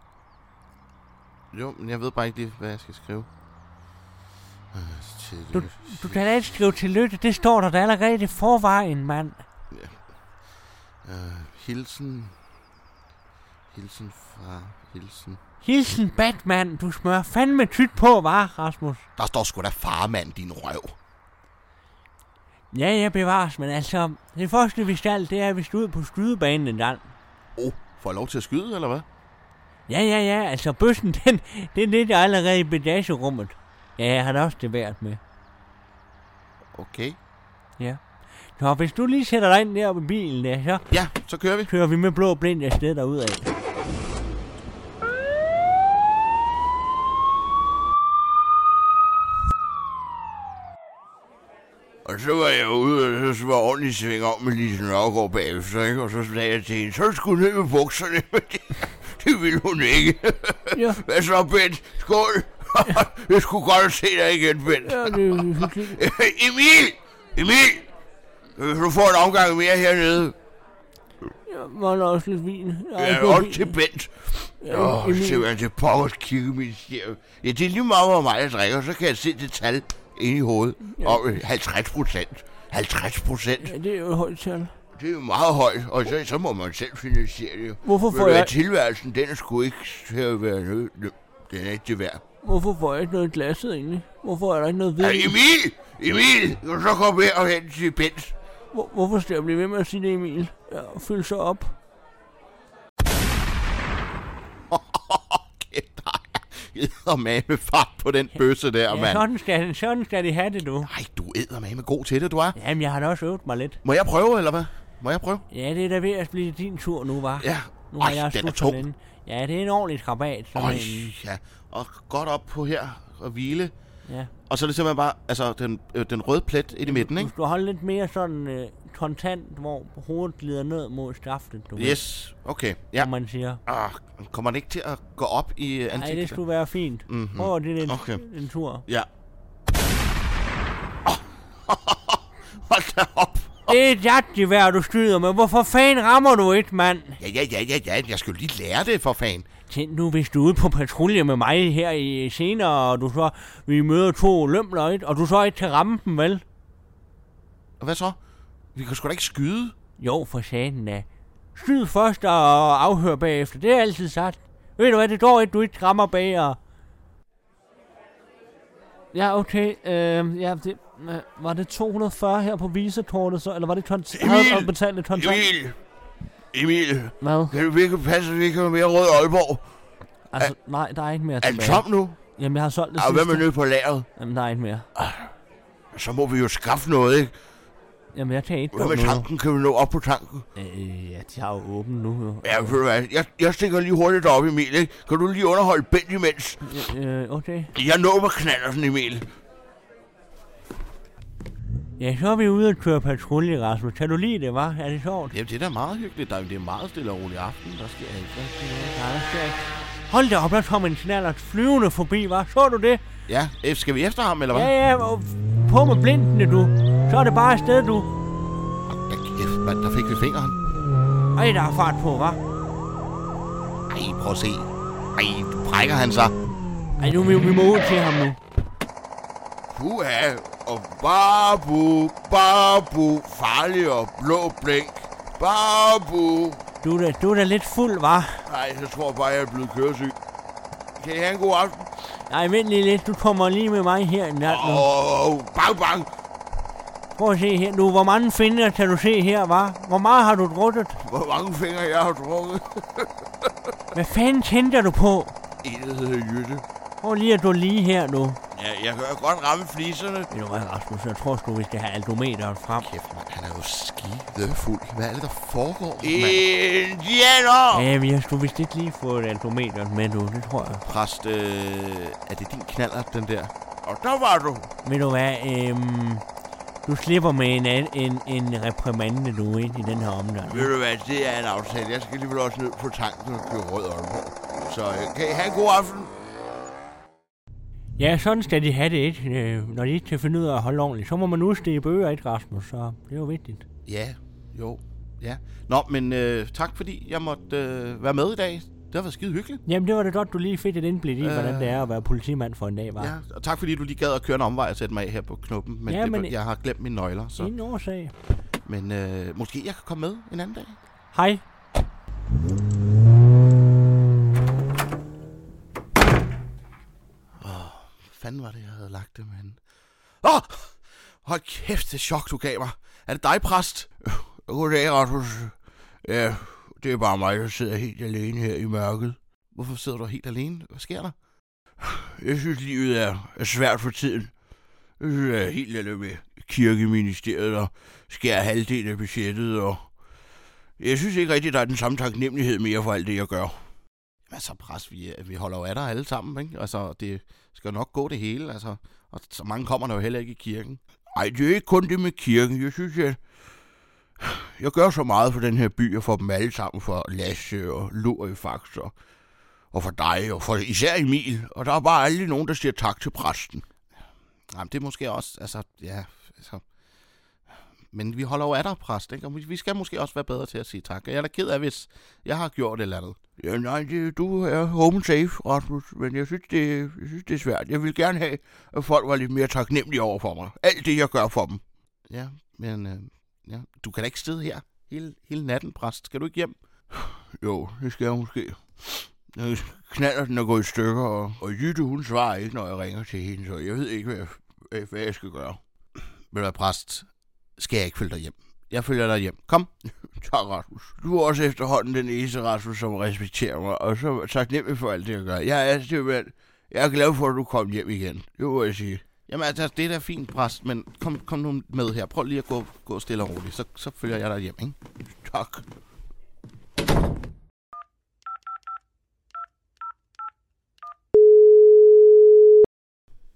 [SPEAKER 3] Jo, men jeg ved bare ikke lige, hvad jeg skal skrive. Øh, til-
[SPEAKER 2] Du kan da ikke skrive tillykke, det står der da allerede i forvejen, mand.
[SPEAKER 3] Øh, hilsen. Hilsen fra... Hilsen.
[SPEAKER 2] Hilsen Batman, du smører fandme tyt på, var Rasmus?
[SPEAKER 3] Der står sgu da farmand, din røv.
[SPEAKER 2] Ja, ja, bevares, men altså, det første vi skal, det er, at vi skal ud på skydebanen en gang.
[SPEAKER 3] Oh, får jeg lov til at skyde, eller hvad?
[SPEAKER 2] Ja, ja, ja, altså bøssen, *laughs* den, den ligger allerede i bagagerummet. Ja, jeg har da også det værd med.
[SPEAKER 3] Okay.
[SPEAKER 2] Så hvis du lige sætter dig ind der på bilen, der, så
[SPEAKER 3] Ja, så kører vi.
[SPEAKER 2] kører vi med blå blind afsted derudad.
[SPEAKER 3] Og så var jeg ude, og så var jeg ordentligt sving om med Lise Nørgaard bagefter, ikke? Og så sagde jeg til hende, så er det sgu ned med bukserne, *laughs* men det, det ville hun ikke. *laughs*
[SPEAKER 2] Ja.
[SPEAKER 3] Hvad så, Bent? Skål! *laughs* jeg skulle godt se dig igen, Bent.
[SPEAKER 2] Ja, det *laughs* er hyggeligt.
[SPEAKER 3] *laughs* Emil! Emil! Øh, Du får en omgang mere hernede.
[SPEAKER 2] Jeg mangler også lidt vin. Jeg har
[SPEAKER 3] Jeg
[SPEAKER 2] ikke
[SPEAKER 3] er
[SPEAKER 2] noget
[SPEAKER 3] også
[SPEAKER 2] vin.
[SPEAKER 3] til Bent.
[SPEAKER 2] Ja,
[SPEAKER 3] Åh,
[SPEAKER 2] Emil.
[SPEAKER 3] simpelthen til pokkers kirkeministerium. Ja, det er lige meget, hvor meget jeg drikker, så kan jeg se det tal inde i hovedet. Ja. Og øh, 50 procent. 50 procent.
[SPEAKER 2] Ja, det er jo et højt tal.
[SPEAKER 3] Det er jo meget højt, og så, så må man selv finansiere det.
[SPEAKER 2] Hvorfor
[SPEAKER 3] Ved
[SPEAKER 2] får
[SPEAKER 3] du hvad,
[SPEAKER 2] jeg-
[SPEAKER 3] Tilværelsen, den er sgu ikke til at være nød. Den er ikke det værd.
[SPEAKER 2] Hvorfor får jeg ikke noget i glasset egentlig? Hvorfor er der ikke noget
[SPEAKER 3] Ja,
[SPEAKER 2] vin?
[SPEAKER 3] Emil! Emil! Kan du så komme her og hen til Bent?
[SPEAKER 2] Hvor, hvorfor skal jeg blive ved med at sige det, Emil? Ja, fyld så op.
[SPEAKER 3] Kæft, der *laughs* er med fart på den bøsse der, mand.
[SPEAKER 2] sådan skal, sådan skal de have det nu.
[SPEAKER 3] Ej, du æder med god til det, du er.
[SPEAKER 2] Jamen, jeg har da også øvet mig lidt.
[SPEAKER 3] Må jeg prøve, eller hvad? Må jeg prøve?
[SPEAKER 2] Ja, det er da ved at blive din tur nu, var.
[SPEAKER 3] Ja.
[SPEAKER 2] Nu har
[SPEAKER 3] Ej,
[SPEAKER 2] jeg
[SPEAKER 3] den er
[SPEAKER 2] slut
[SPEAKER 3] tung.
[SPEAKER 2] den. Ja, det er en ordentlig krabat. sådan
[SPEAKER 3] Øj,
[SPEAKER 2] en-
[SPEAKER 3] ja. Og godt op på her og hvile.
[SPEAKER 2] Ja.
[SPEAKER 3] Og så er det simpelthen bare, altså den, øh, den røde plet ind i midten,
[SPEAKER 2] Du
[SPEAKER 3] ikke?
[SPEAKER 2] skal holde lidt mere sådan øh, kontant, hvor hovedet glider ned mod skaftet, du ved,
[SPEAKER 3] Yes, okay. Ja.
[SPEAKER 2] som man siger.
[SPEAKER 3] Ah, kommer den ikke til at gå op i øh,
[SPEAKER 2] Nej, det
[SPEAKER 3] ansigtet?
[SPEAKER 2] skulle være fint. Mm-hmm. Prøv det en,
[SPEAKER 3] Mhm. Okay.
[SPEAKER 2] okay. en tur.
[SPEAKER 3] Ja. Oh. *laughs* Hold da op.
[SPEAKER 2] Det er et jagtgevær, du skyder med. Hvorfor fanden rammer du ikke, mand?
[SPEAKER 3] Ja, ja, ja, ja, ja. Jeg skulle lige lære det, for fan.
[SPEAKER 2] Tænk nu, hvis du er ude på patrulje med mig her i senere, og du så, vi møder to lømler, ikke? og du så ikke kan ramme dem, vel?
[SPEAKER 3] Og hvad så? Vi kan sgu da ikke skyde.
[SPEAKER 2] Jo, for satan da. Skyd først og afhør bagefter. Det er altid sagt. Ved du hvad, det går ikke, du ikke rammer bag og... Ja, okay. Øh, ja, det, øh, var det 240 her på visekortet, så, eller var det kontant?
[SPEAKER 3] Emil!
[SPEAKER 2] Havde du betalt et kontant?
[SPEAKER 3] Emil! Emil,
[SPEAKER 2] Hvad?
[SPEAKER 3] kan du virkelig passe, at vi ikke har mere rød Aalborg?
[SPEAKER 2] Altså, nej, der er ikke mere
[SPEAKER 3] Er den
[SPEAKER 2] tilbage.
[SPEAKER 3] tom nu?
[SPEAKER 2] Jamen, jeg har solgt det
[SPEAKER 3] Og hvad
[SPEAKER 2] sidste.
[SPEAKER 3] med nede på lageret?
[SPEAKER 2] Jamen, der er ikke mere.
[SPEAKER 3] Så må vi jo skaffe noget, ikke?
[SPEAKER 2] Jamen, jeg tager ikke
[SPEAKER 3] Hvad med tanken? Kan vi nå op på tanken?
[SPEAKER 2] Øh, ja, de har jo åbent nu, jo.
[SPEAKER 3] Ja, ved du hvad? Jeg, jeg stikker lige hurtigt op, Emil. Ikke? Kan du lige underholde Bent imens?
[SPEAKER 2] Øh, okay.
[SPEAKER 3] Jeg når med knallerten, Emil.
[SPEAKER 2] Ja, så er vi ude og køre patrulje, Rasmus. Kan du lide det, var? Er det sjovt?
[SPEAKER 4] Jamen, det er da meget hyggeligt. Der, det er meget stille og rolig aften. Der sker ikke rigtig noget.
[SPEAKER 2] Ja, det skal jeg. Hold da op, der kom en knallert flyvende forbi, var? Så du det?
[SPEAKER 4] Ja, øh, skal vi efter ham, eller hvad?
[SPEAKER 2] Ja, ja, og på med blindene, du. Så er det bare afsted, du.
[SPEAKER 4] Da kæft, mand, der fik vi fingeren.
[SPEAKER 2] Ej, der er fart på, var?
[SPEAKER 4] Ej, prøv at se. Ej, brækker han sig.
[SPEAKER 2] Ej, nu vi, vi må ud til ham nu.
[SPEAKER 3] Puha. Og babu, babu. Farlig og blå blink. Babu.
[SPEAKER 2] Du er da, du er da lidt fuld, var?
[SPEAKER 3] Nej, jeg tror bare, jeg er blevet køresyg. Kan I have en god aften?
[SPEAKER 2] Nej, vent lige lidt. Du kommer lige med mig her i nat nu.
[SPEAKER 3] Åh, oh, bang, bang.
[SPEAKER 2] Prøv at se her. Du, hvor mange finder kan du se her, var? Hvor meget har du drukket?
[SPEAKER 3] Hvor mange fingre jeg har drukket.
[SPEAKER 2] Hvad fanden tænder du på?
[SPEAKER 3] En, der hedder Jytte.
[SPEAKER 2] Prøv lige at du lige her nu.
[SPEAKER 3] Ja, jeg kan godt ramme fliserne.
[SPEAKER 2] Ved du hvad, Rasmus? Jeg tror sgu, vi skal have aldometeren frem.
[SPEAKER 4] Kæft, mand, han er jo skidefuld. Hvad er det, der foregår, mand?
[SPEAKER 3] Indianer!
[SPEAKER 2] Ja, vi har sgu vist ikke lige fået aldometeren med nu. Det tror jeg.
[SPEAKER 4] Præst, øh, er det din knaller, den der?
[SPEAKER 3] Og der var du.
[SPEAKER 2] Ved du hvad, øhm, du slipper med en, an- en, en reprimande nu ind i den her omgang.
[SPEAKER 3] Ved du hvad, det er en aftale. Jeg skal alligevel også ned på tanken og køre rød Aalborg. Så øh, kan I have en god aften?
[SPEAKER 2] Ja, sådan skal de have det, ikke? Øh, Når de ikke kan finde ud af at holde ordentligt, så må man udstede bøger, ikke Rasmus? Så det er jo vigtigt.
[SPEAKER 4] Ja, jo, ja. Nå, men øh, tak fordi jeg måtte øh, være med i dag. Det har været skide hyggeligt.
[SPEAKER 2] Jamen, det var det godt, du lige fik et indblik i, øh...
[SPEAKER 4] Øh.
[SPEAKER 2] hvordan det er at være politimand for en dag, var.
[SPEAKER 4] Ja, og tak fordi du lige gad at køre en omvej og sætte mig af her på knuppen. Men,
[SPEAKER 2] Ja,
[SPEAKER 4] ja, det,
[SPEAKER 2] men-
[SPEAKER 4] men jeg har glemt mine nøgler, så...
[SPEAKER 2] Ingen årsag.
[SPEAKER 4] Men øh, måske jeg kan komme med en anden dag?
[SPEAKER 2] Hej.
[SPEAKER 4] fanden var det, jeg havde lagt det, mand? Åh! Hold kæft, det chok, du gav mig. Er det dig, præst?
[SPEAKER 3] Øh, Goddag, Rasmus. Ja, det er bare mig, der sidder helt alene her i mørket.
[SPEAKER 4] Hvorfor sidder du helt alene? Hvad sker der?
[SPEAKER 3] Jeg synes, livet er, er svært for tiden. Jeg synes, jeg er helt alene med kirkeministeriet og skærer halvdelen af budgettet. Og jeg synes ikke rigtig, der er den samme taknemmelighed mere for alt det, jeg gør. altså,
[SPEAKER 4] Jamen så præst, vi, er- vi holder jo af dig alle sammen, ikke? Altså, det skal jo nok gå det hele, altså. Og så mange kommer der jo heller ikke i kirken.
[SPEAKER 3] Ej, det er ikke kun det med kirken. Jeg synes, jeg... Jeg gør så meget for den her by, og for dem alle sammen, for Lasse og Lurifax og, og for dig, og for især Emil. Og der er bare aldrig nogen, der siger tak til præsten.
[SPEAKER 4] Jamen, det er måske også, altså, ja, altså. Men vi holder jo af dig, præst, ikke? Og vi- vi skal måske også være bedre til at sige tak. Jeg er da ked af, hvis jeg har gjort et eller andet.
[SPEAKER 3] Ja, nej, det, du er home safe, Rasmus, men jeg synes, det, jeg synes, det er svært. Jeg vil gerne have, at folk var lidt mere taknemmelige over for mig. Alt det, jeg gør for dem.
[SPEAKER 4] Ja, men øh, ja, du kan da ikke sidde her hele, hele natten, præst. Skal du ikke hjem?
[SPEAKER 3] *sighs* Jo, det skal jeg måske. Jeg knaller den og går i stykker, og, og Jytte, hun svarer ikke, når jeg ringer til hende, så jeg ved ikke, hvad jeg, hvad jeg skal gøre.
[SPEAKER 4] Ved du hvad, præst? Skal jeg ikke følge dig hjem? Jeg følger dig hjem. Kom.
[SPEAKER 3] Tak, Rasmus. Du er også efterhånden den eneste, Rasmus, som respekterer mig, og så taknemmelig for alt det, jeg gør. Jeg er simpelthen... Jeg er glad for, at du kom hjem igen. Det må jeg sige.
[SPEAKER 4] Jamen altså, det er da fint, præst, men kom, kom nu med her. Prøv lige at gå, gå stille og roligt, så, så følger jeg dig hjem, ikke?
[SPEAKER 3] Tak.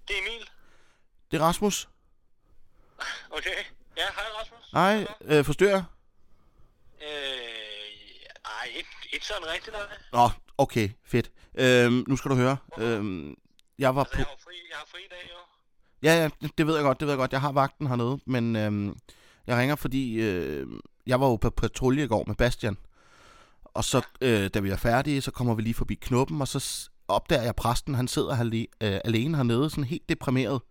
[SPEAKER 5] Det er Emil.
[SPEAKER 4] Det er Rasmus.
[SPEAKER 5] Okay. Ja, hej Rasmus.
[SPEAKER 4] Nej, øh, forstyrrer.
[SPEAKER 5] Øh, ej, ikke, ikke sådan rigtigt, nej. Altså,
[SPEAKER 4] Nå, okay, fedt. Øhm, nu skal du høre. Øhm, jeg var
[SPEAKER 5] Altså,
[SPEAKER 4] på...
[SPEAKER 5] jeg har fri, jeg har fri i dag, jo.
[SPEAKER 4] Ja, ja, det- det ved jeg godt, det ved jeg godt. Jeg har vagten hernede, men øhm, jeg ringer, fordi øh, jeg var jo på patrulje i går med Bastian. Og så, øh, da vi er færdige, så kommer vi lige forbi knuppen, og så s- opdager jeg præsten, han sidder hale- øh, alene hernede, sådan helt deprimeret.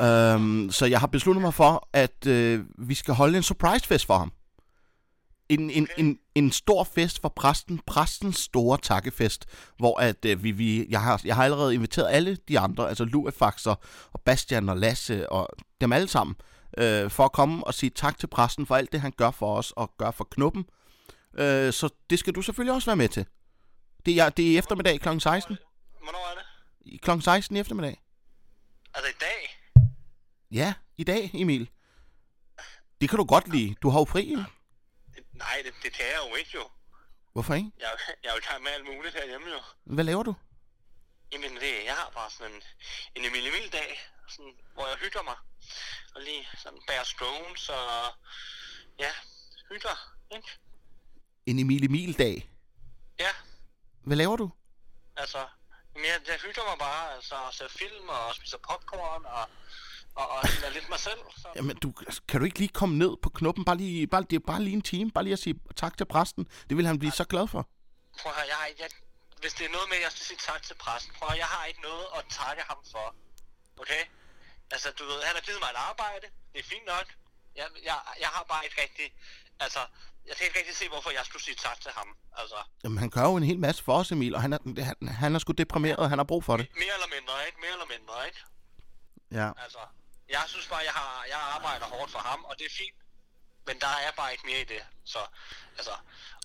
[SPEAKER 4] Øhm, så jeg har besluttet mig for, at øh, vi skal holde en surprise fest for ham. En, en, en, en stor fest for præsten, præstens store takkefest, hvor at, øh, vi, vi, jeg, har, jeg har allerede inviteret alle de andre, altså Luefaxer og Bastian og Lasse og dem alle sammen, øh, for at komme og sige tak til præsten for alt det, han gør for os og gør for knuppen. Øh, så det skal du selvfølgelig også være med til. Det er, det er i eftermiddag kl. 16.
[SPEAKER 5] Hvornår er det?
[SPEAKER 4] I- Kl. 16 i eftermiddag.
[SPEAKER 5] Altså i dag?
[SPEAKER 4] Ja, i dag, Emil. Det kan du godt lide. Du har jo fri, ikke?
[SPEAKER 5] Det- Nej, det, det kan jeg jo ikke jo.
[SPEAKER 4] Hvorfor ikke?
[SPEAKER 5] Jeg, er jo- jeg er jo i gang med alt muligt herhjemme jo.
[SPEAKER 4] Hvad laver du?
[SPEAKER 5] Jamen, det, jeg har bare sådan en, en Emil Emil dag, sådan, hvor jeg hygger mig. Og lige sådan bærer scones og ja, hygger, ikke?
[SPEAKER 4] En Emil Emil-dag.
[SPEAKER 5] Ja,
[SPEAKER 4] Hvad laver du?
[SPEAKER 5] altså, men jeg, jeg hygger mig bare, altså, og ser film og spiser popcorn og, og, og sådan er lidt mig selv. Så.
[SPEAKER 4] Jamen, du, kan du ikke lige komme ned på knuppen? Bare lige, bare, det er bare lige en time. Bare lige at sige tak til præsten. Det vil han blive så glad for.
[SPEAKER 5] Prøv at høre, jeg, har- jeg, hvis det er noget med, at jeg skal sige tak til præsten, prøv at høre, jeg har ikke noget at takke ham for. Okay? Altså, du ved, han har givet mig et arbejde, det er fint nok. Jeg, jeg, jeg har bare ikke rigtig, altså, jeg kan ikke rigtig se, hvorfor jeg skulle sige tak til ham. Altså,
[SPEAKER 4] Jamen, han gør jo en hel masse for os, Emil, og han er, han, han er sgu deprimeret, og han har brug for det.
[SPEAKER 5] mere eller mindre, ikke? Mere eller mindre, ikke?
[SPEAKER 4] Ja.
[SPEAKER 5] Altså, jeg synes bare, jeg, har, jeg arbejder hårdt for ham, og det er fint. Men der er bare ikke mere i det. Så, altså,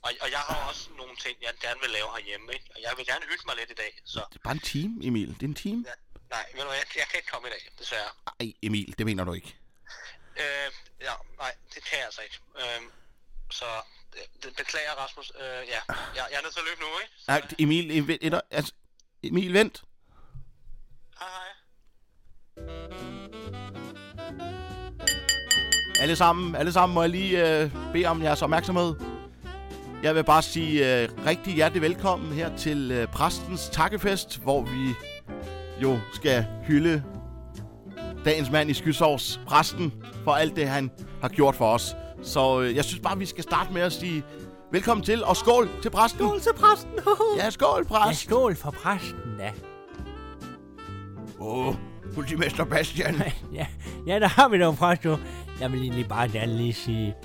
[SPEAKER 5] og, og jeg har også nogle ting, jeg gerne vil lave herhjemme, ikke? Og jeg vil gerne hygge mig lidt i dag, så...
[SPEAKER 4] Det er bare en time, Emil. Det er en time.
[SPEAKER 5] Ja. Nej, ved du hvad, jeg, jeg kan ikke komme i dag, desværre.
[SPEAKER 4] Ej, Emil, det mener du ikke.
[SPEAKER 5] Øh, ja, nej, det kan jeg altså ikke. Øh, så det, det beklager Rasmus. Øh, ja, jeg, jeg er nødt til at løbe nu, ikke? Så,
[SPEAKER 4] Nej, Emil, em- vent, et- altså, Emil, vent.
[SPEAKER 5] hej, hej.
[SPEAKER 4] Alle sammen, alle sammen må jeg lige øh, bede om jeres opmærksomhed. Jeg vil bare sige øh, rigtig hjertelig velkommen her til øh, præstens takkefest, hvor vi jo skal hylde dagens mand i Skysovs, præsten, for alt det, han har gjort for os. Så øh, jeg synes bare, vi skal starte med at sige velkommen til, og skål til præsten. Skål.
[SPEAKER 2] til præsten.
[SPEAKER 4] Ja, skål,
[SPEAKER 2] Ja,
[SPEAKER 4] præst.
[SPEAKER 2] skål for præsten, da.
[SPEAKER 3] Åh, politimester Bastian.
[SPEAKER 2] Ja, ja der har vi dog præst, du. Jeg vil egentlig bare gerne lige sige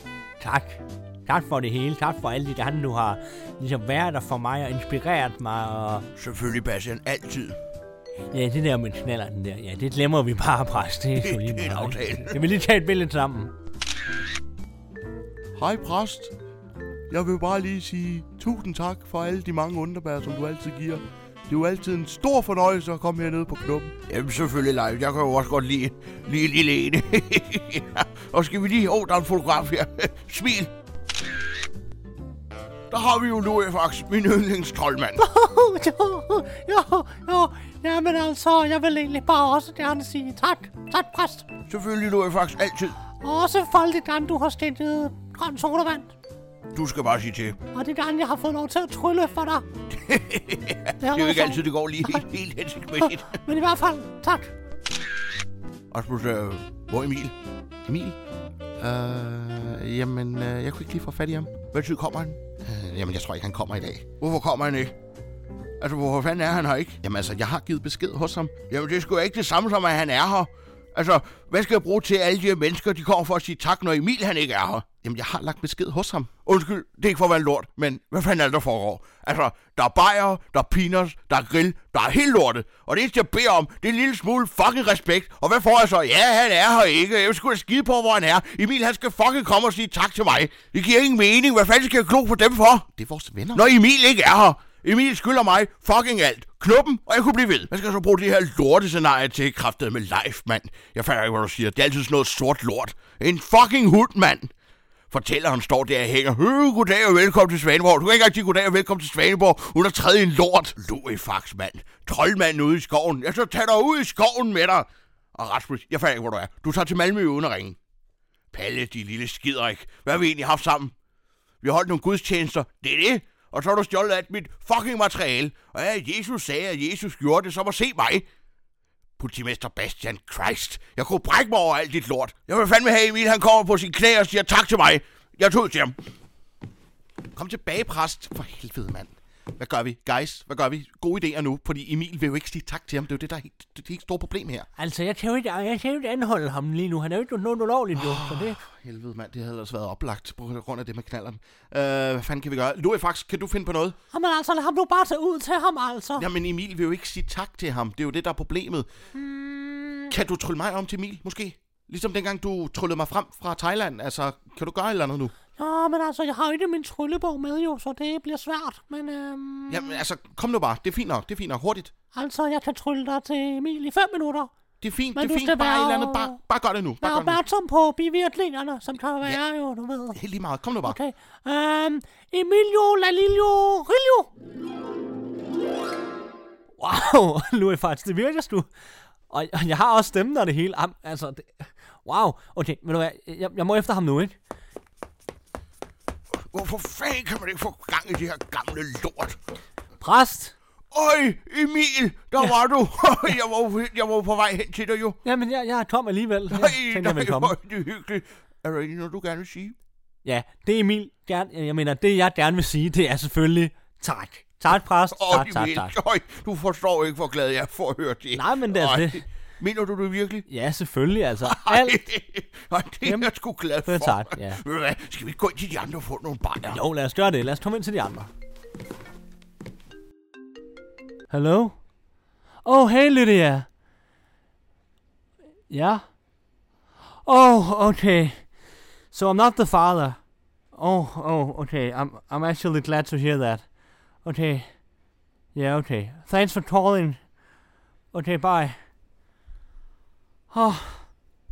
[SPEAKER 2] tak. Tak for det hele. Tak for alle de andre, du har ligesom været der for mig og inspireret mig. Og
[SPEAKER 3] Selvfølgelig Bastian, altid.
[SPEAKER 2] ja, det der med knallerten der, ja, det glemmer vi bare, præst. Det er sgu lige
[SPEAKER 3] *laughs* Det er en
[SPEAKER 2] meget.
[SPEAKER 3] aftale.
[SPEAKER 2] Jeg vil lige tage et billede sammen.
[SPEAKER 4] Hej præst. Jeg vil bare lige sige tusind tak for alle de mange underbær, som du altid giver. Det er jo altid en stor fornøjelse at komme hernede på klubben.
[SPEAKER 3] Jamen selvfølgelig live, jeg kan jo også godt lide lige lille ene. Ja, *laughs* og skal vi lige... Åh, oh, der er en fotograf her. *laughs* Smil. Der har vi jo Louis Fax, min
[SPEAKER 4] *laughs*
[SPEAKER 3] yndlingstrolmand.
[SPEAKER 2] Jo, jo, jo, jo. Jamen altså, jeg vil egentlig bare også gerne sige tak. Tak, præst.
[SPEAKER 3] Selvfølgelig Louis Fax, altid.
[SPEAKER 2] Og også for alt det andet, du har stillet grøn sodavand.
[SPEAKER 3] Du skal bare sige til.
[SPEAKER 2] Og det andet, jeg har fået lov til at trylle for
[SPEAKER 3] *laughs*
[SPEAKER 2] dig. det
[SPEAKER 3] Det er jo ikke altid, det går lige helt, helt hensigtsmæssigt.
[SPEAKER 2] *laughs* Men i hvert fald, tak.
[SPEAKER 3] Rasmus, øh, hvor er Emil?
[SPEAKER 4] Emil? Øh, jamen, øh, jeg kunne ikke lige få fat i ham.
[SPEAKER 3] Hvad tid kommer han?
[SPEAKER 4] Øh, jamen, jeg tror ikke, han kommer i dag.
[SPEAKER 3] Hvorfor kommer han ikke? Altså, hvorfor fanden er han her ikke?
[SPEAKER 4] Jamen altså, jeg har givet besked hos ham.
[SPEAKER 3] Jamen, det er sgu ikke det samme som, at han er her. Altså, hvad skal jeg bruge til at alle de her mennesker, de kommer for at sige tak, når Emil han ikke er her?
[SPEAKER 4] Jamen, jeg har lagt besked hos ham.
[SPEAKER 3] Undskyld, det er ikke for at være lort, men hvad fanden er det, der foregår? Altså, der er bajer, der er peanuts, der er grill, der er helt lortet. Og det eneste, jeg beder om, det er en lille smule fucking respekt. Og hvad får jeg så? Ja, han er her ikke. Jeg skulle da skide på, hvor han er. Emil, han skal fucking komme og sige tak til mig. Det giver ingen mening. Hvad fanden skal jeg klo på dem for?
[SPEAKER 4] Det er vores venner.
[SPEAKER 3] Når Emil ikke er her. Emil skylder mig fucking alt. Knuppen, og jeg kunne blive ved. Hvad skal jeg så bruge det her lortescenarie til kraftet med life, mand? Jeg fatter ikke, hvad du siger. Det er altid sådan noget sort lort. En fucking hund, mand. Fortælleren står der og hænger. Øh, goddag og velkommen til Svaneborg. Du kan ikke engang sige goddag og velkommen til Svaneborg. Hun har trædet i en lort. Lurifax, mand. Troldmanden ude i skoven. Jeg så tager dig ud i skoven med dig. Og Rasmus, jeg fatter ikke, hvor du er. Du tager til Malmø uden at ringe. Palle, de lille skiderik. Hvad har vi egentlig haft sammen? Vi har holdt nogle gudstjenester. Det er det. Og så har du stjålet alt mit fucking materiale. Og ja, Jesus sagde, at Jesus gjorde det, så må se mig. Politimester Bastian Christ. Jeg kunne brække mig over alt dit lort. Jeg vil fandme have Emil, han kommer på sin knæ og siger tak til mig. Jeg tog ud til ham.
[SPEAKER 4] Kom tilbage, præst. For helvede, mand. Hvad gør vi? Guys, hvad gør vi? Gode idéer nu, fordi Emil vil jo ikke sige tak til ham. Det er jo det, der er helt, det, det er helt store problem her.
[SPEAKER 2] Altså, jeg kan jo ikke, jeg kan jo ikke anholde ham lige nu. Han er jo ikke gjort noget ulovligt, jo. Så det,
[SPEAKER 4] Helvede, mand. Det havde ellers været oplagt på grund af det med knalleren. Øh, hvad fanden kan vi gøre? Louis kan du finde på noget?
[SPEAKER 2] jamen altså, lad ham nu bare tage ud til ham, altså.
[SPEAKER 4] Jamen Emil vil jo ikke sige tak til ham. Det er jo det, der er problemet. Hmm. Kan du trylle mig om til Emil, måske? Ligesom dengang du tryllede mig frem fra Thailand. Altså, kan du gøre et eller andet nu?
[SPEAKER 6] Hmm.
[SPEAKER 2] Nå, men altså, jeg har jo ikke min tryllebog med, jo, så det bliver svært. Men øhm,
[SPEAKER 4] Jamen, altså, kom nu bare. Det er fint nok. Det er fint nok. Hurtigt.
[SPEAKER 2] altså, jeg kan trylle dig til Emil i fem minutter.
[SPEAKER 4] Det er fint,
[SPEAKER 6] Men
[SPEAKER 4] det er
[SPEAKER 6] du
[SPEAKER 4] fint.
[SPEAKER 6] skal
[SPEAKER 4] Bare et
[SPEAKER 6] være-
[SPEAKER 4] eller andet. Bare, bare gør det nu.
[SPEAKER 6] Vær
[SPEAKER 4] Bare gør det
[SPEAKER 6] opmærksom på bivirkningerne, som kan være jo, du ved.
[SPEAKER 4] nu. Helt lige meget. Kom nu bare.
[SPEAKER 6] Okay. Øhm, Emilio Lalilio Rilio. Wow, *laughs* nu er jeg faktisk, det virker sgu. Og og jeg har også stemmen og det hele. Am, altså, det, wow. Okay, ved du hvad, jeg, jeg må efter ham nu, ikke?
[SPEAKER 3] Hvorfor fanden kan man ikke få gang i det her gamle lort?
[SPEAKER 6] Præst.
[SPEAKER 3] Øj, Emil, der var
[SPEAKER 4] *laughs*
[SPEAKER 3] du. jeg, var, jeg var på vej hen til dig jo.
[SPEAKER 6] Jamen, jeg, jeg kom alligevel. Jeg
[SPEAKER 3] Ej,
[SPEAKER 6] tænkte, jeg ville komme.
[SPEAKER 3] hvor er det hyggeligt. Er der ikke noget, du gerne vil sige?
[SPEAKER 6] Ja, det er Emil. Gerne, øh, jeg mener, det jeg gerne vil sige, det er selvfølgelig tak. Tak, præst.
[SPEAKER 3] Åh,
[SPEAKER 6] Tak, tak,
[SPEAKER 3] Emil,
[SPEAKER 6] tak.
[SPEAKER 3] Øj, du forstår ikke, hvor glad jeg er for at høre det.
[SPEAKER 6] Nej, men det er
[SPEAKER 3] Øj,
[SPEAKER 6] det.
[SPEAKER 3] Mener du det virkelig?
[SPEAKER 6] Ja, selvfølgelig,
[SPEAKER 3] *laughs*
[SPEAKER 6] altså. Alt.
[SPEAKER 3] Nej, det er jeg sgu glad for.
[SPEAKER 6] Jamen, øh, tak, ja.
[SPEAKER 3] Ved du hvad, skal vi gå ind til de andre og få nogle bajer?
[SPEAKER 6] Jo, lad os gøre det. Lad os komme ind til de andre. Hallo? Åh, oh, hey Lydia. Ja? Oh, okay. So I'm not the father. Oh, oh, okay. I'm, I'm actually glad to hear that. Okay. Yeah, okay. Thanks for calling. Okay, bye. Åh, oh,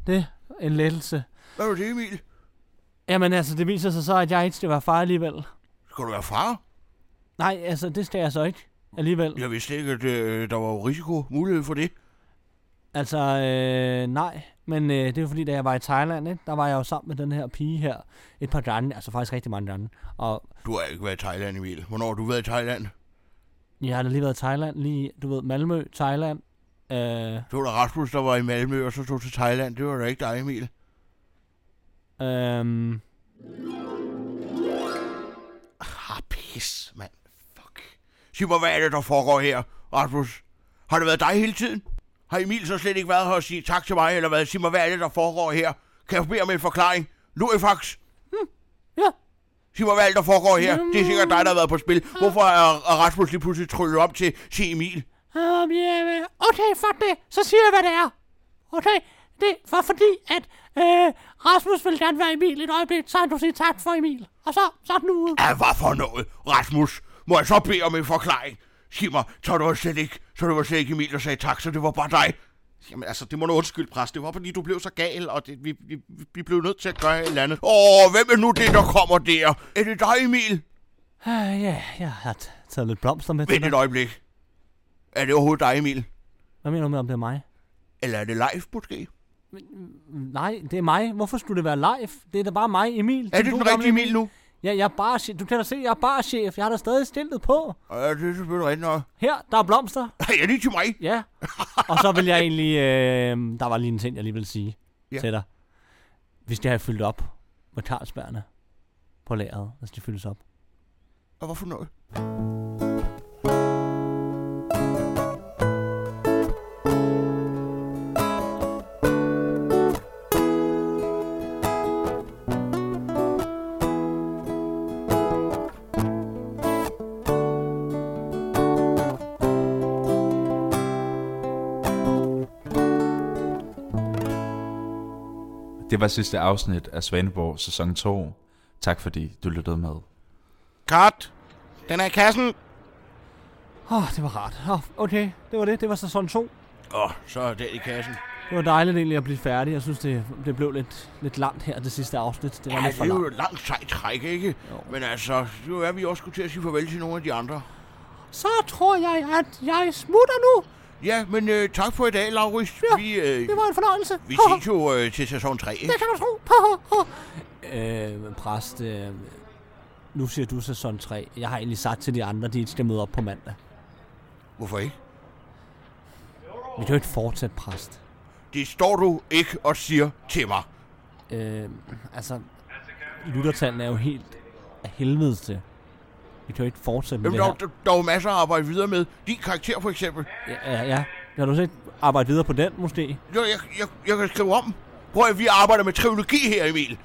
[SPEAKER 6] det er en lettelse.
[SPEAKER 3] Hvad var det, Emil?
[SPEAKER 6] Jamen altså, det viser sig så, at jeg ikke skal være far alligevel.
[SPEAKER 3] Skal du være far?
[SPEAKER 6] Nej, altså, det skal jeg så ikke alligevel.
[SPEAKER 3] Jeg vidste ikke, at øh, der var jo risiko, mulighed for det.
[SPEAKER 6] Altså, øh, nej. Men øh, det er jo fordi, da jeg var i Thailand, ikke, der var jeg jo sammen med den her pige her et par gange. Altså faktisk rigtig mange gange. Og
[SPEAKER 3] Du har ikke været i Thailand, Emil. Hvornår har du været i Thailand?
[SPEAKER 6] jeg har da lige været i Thailand, lige, du ved, Malmø, Thailand. Øh,
[SPEAKER 3] Det var da Rasmus, der var i Malmø, og så tog til Thailand. Det var da ikke dig, Emil.
[SPEAKER 6] øh,
[SPEAKER 3] Ah, pis, mand. Fuck. Sig mig, hvad er det, der foregår her, Rasmus? Har det været dig hele tiden? Har Emil så slet ikke været her og sige tak til mig, eller hvad? Sig mig, hvad er det, der foregår her? Kan jeg bede om en forklaring? Lurifax?
[SPEAKER 6] ja,
[SPEAKER 3] Sig mig, hvad er det, der foregår her? Det er sikkert dig, der har været på spil. Hvorfor er er Rasmus lige pludselig tryllet op til se Emil?
[SPEAKER 6] Um, yeah, okay, fuck det. Så siger jeg, hvad det er. Okay, det var fordi, at øh, Rasmus ville gerne være Emil et øjeblik, så han kunne sige tak for Emil. Og så, så er den ude.
[SPEAKER 3] Ja, hvad for noget, Rasmus? Må jeg så bede om en forklaring? Sig mig, så det var slet ikke, så det var slet ikke Emil, der sagde tak, så det var bare dig.
[SPEAKER 4] Jamen altså, det må du undskylde, præst. Det var fordi, du blev så gal, og det, vi, vi, vi blev nødt til at gøre et eller andet.
[SPEAKER 3] Åh, hvem er nu det, der kommer der? Er det dig, Emil?
[SPEAKER 6] Uh, ja, jeg har t- taget lidt blomster med til
[SPEAKER 3] Vent
[SPEAKER 6] dig.
[SPEAKER 3] et øjeblik. Er det overhovedet dig, Emil?
[SPEAKER 6] Hvad mener du med, om det er mig?
[SPEAKER 3] Eller er det live, måske?
[SPEAKER 6] Nej, det er mig. Hvorfor skulle det være live? Det er da bare mig, Emil.
[SPEAKER 3] Er det
[SPEAKER 6] du
[SPEAKER 3] den
[SPEAKER 6] gamle
[SPEAKER 3] rigtige Emil nu?
[SPEAKER 6] Ja, jeg er bare Du kan da se, jeg er bare chef. Jeg har da stadig stillet på.
[SPEAKER 3] Ja, det er selvfølgelig rigtigt nok.
[SPEAKER 6] Her, der er blomster.
[SPEAKER 3] Hey, er det til mig?
[SPEAKER 6] Ja. Og så vil jeg egentlig... Øh, der var lige en ting, jeg lige vil sige
[SPEAKER 3] Ja.
[SPEAKER 6] ja. til dig. Hvis det har fyldt op med Carlsbergerne på lageret, hvis de fyldes op.
[SPEAKER 3] Og hvorfor noget?
[SPEAKER 1] Det var sidste afsnit af Svaneborg sæson 2. Tak fordi du lyttede med.
[SPEAKER 4] Kat, den er i kassen.
[SPEAKER 6] Åh, oh, det var rart. Oh, okay, det var det. Det var sæson 2.
[SPEAKER 3] Åh, oh, så er det i kassen.
[SPEAKER 6] Det var dejligt egentlig at blive færdig. Jeg synes, det, det blev lidt, lidt langt her det sidste afsnit. Det var
[SPEAKER 3] Ja,
[SPEAKER 6] lidt
[SPEAKER 3] det
[SPEAKER 6] for
[SPEAKER 3] er jo
[SPEAKER 6] langt.
[SPEAKER 3] et langt sejt træk, ikke? Jo. Men altså, nu er vi også skulle til at sige farvel til nogle af de andre.
[SPEAKER 6] Så tror jeg, at jeg smutter nu.
[SPEAKER 3] Ja, men øh, tak for i dag, Laurits. Ja, vi, øh,
[SPEAKER 6] Det var en fornøjelse.
[SPEAKER 3] vi
[SPEAKER 6] Haha.
[SPEAKER 3] ses jo øh, til sæson 3, ikke?
[SPEAKER 6] Det kan du tro. øh, præst, øh, nu siger du sæson 3. Jeg har egentlig sagt til de andre, de ikke skal møde op på mandag.
[SPEAKER 3] Hvorfor ikke?
[SPEAKER 6] Vi kan jo ikke fortsætte præst.
[SPEAKER 3] Det står du ikke og siger til mig.
[SPEAKER 6] Øh, altså, lyttertallene er jo helt af helvede til. Vi kan jo ikke fortsætte med
[SPEAKER 3] Jamen,
[SPEAKER 6] det
[SPEAKER 3] der,
[SPEAKER 6] her.
[SPEAKER 3] der, der er jo masser at arbejde videre med. Din karakter, for eksempel.
[SPEAKER 6] Ja, ja, ja. Kan du så ikke arbejde videre på den, måske?
[SPEAKER 3] Jeg, jeg, jeg, jeg kan skrive om. Prøv at vi arbejder med trilogi her, Emil.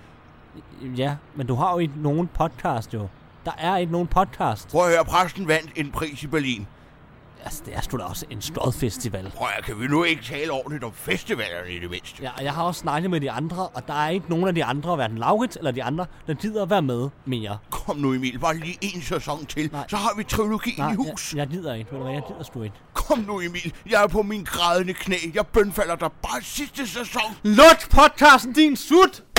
[SPEAKER 6] Ja, men du har jo ikke nogen podcast, jo. Der er ikke nogen podcast.
[SPEAKER 3] Prøv at høre, præsten vandt en pris i Berlin.
[SPEAKER 2] altså, det er sgu da også en stodfestival.
[SPEAKER 3] Prøv at, kan vi nu ikke tale ordentligt om festivalerne i det mindste?
[SPEAKER 2] Ja, og jeg har også snakket med de andre, og der er ikke nogen af de andre, hverken Laurits eller de andre, der gider at være med mere.
[SPEAKER 3] Kom nu, Emil, bare lige en sæson til,
[SPEAKER 2] Nej.
[SPEAKER 3] så har vi trilogien
[SPEAKER 6] Ah,
[SPEAKER 3] i
[SPEAKER 2] jeg,
[SPEAKER 3] hus.
[SPEAKER 2] jeg gider ikke, ved du hvad, jeg gider sgu ikke.
[SPEAKER 3] Kom nu, Emil, jeg er på min grædende knæ. Jeg bønfalder dig bare sidste sæson.
[SPEAKER 2] Luk podcasten, din sut!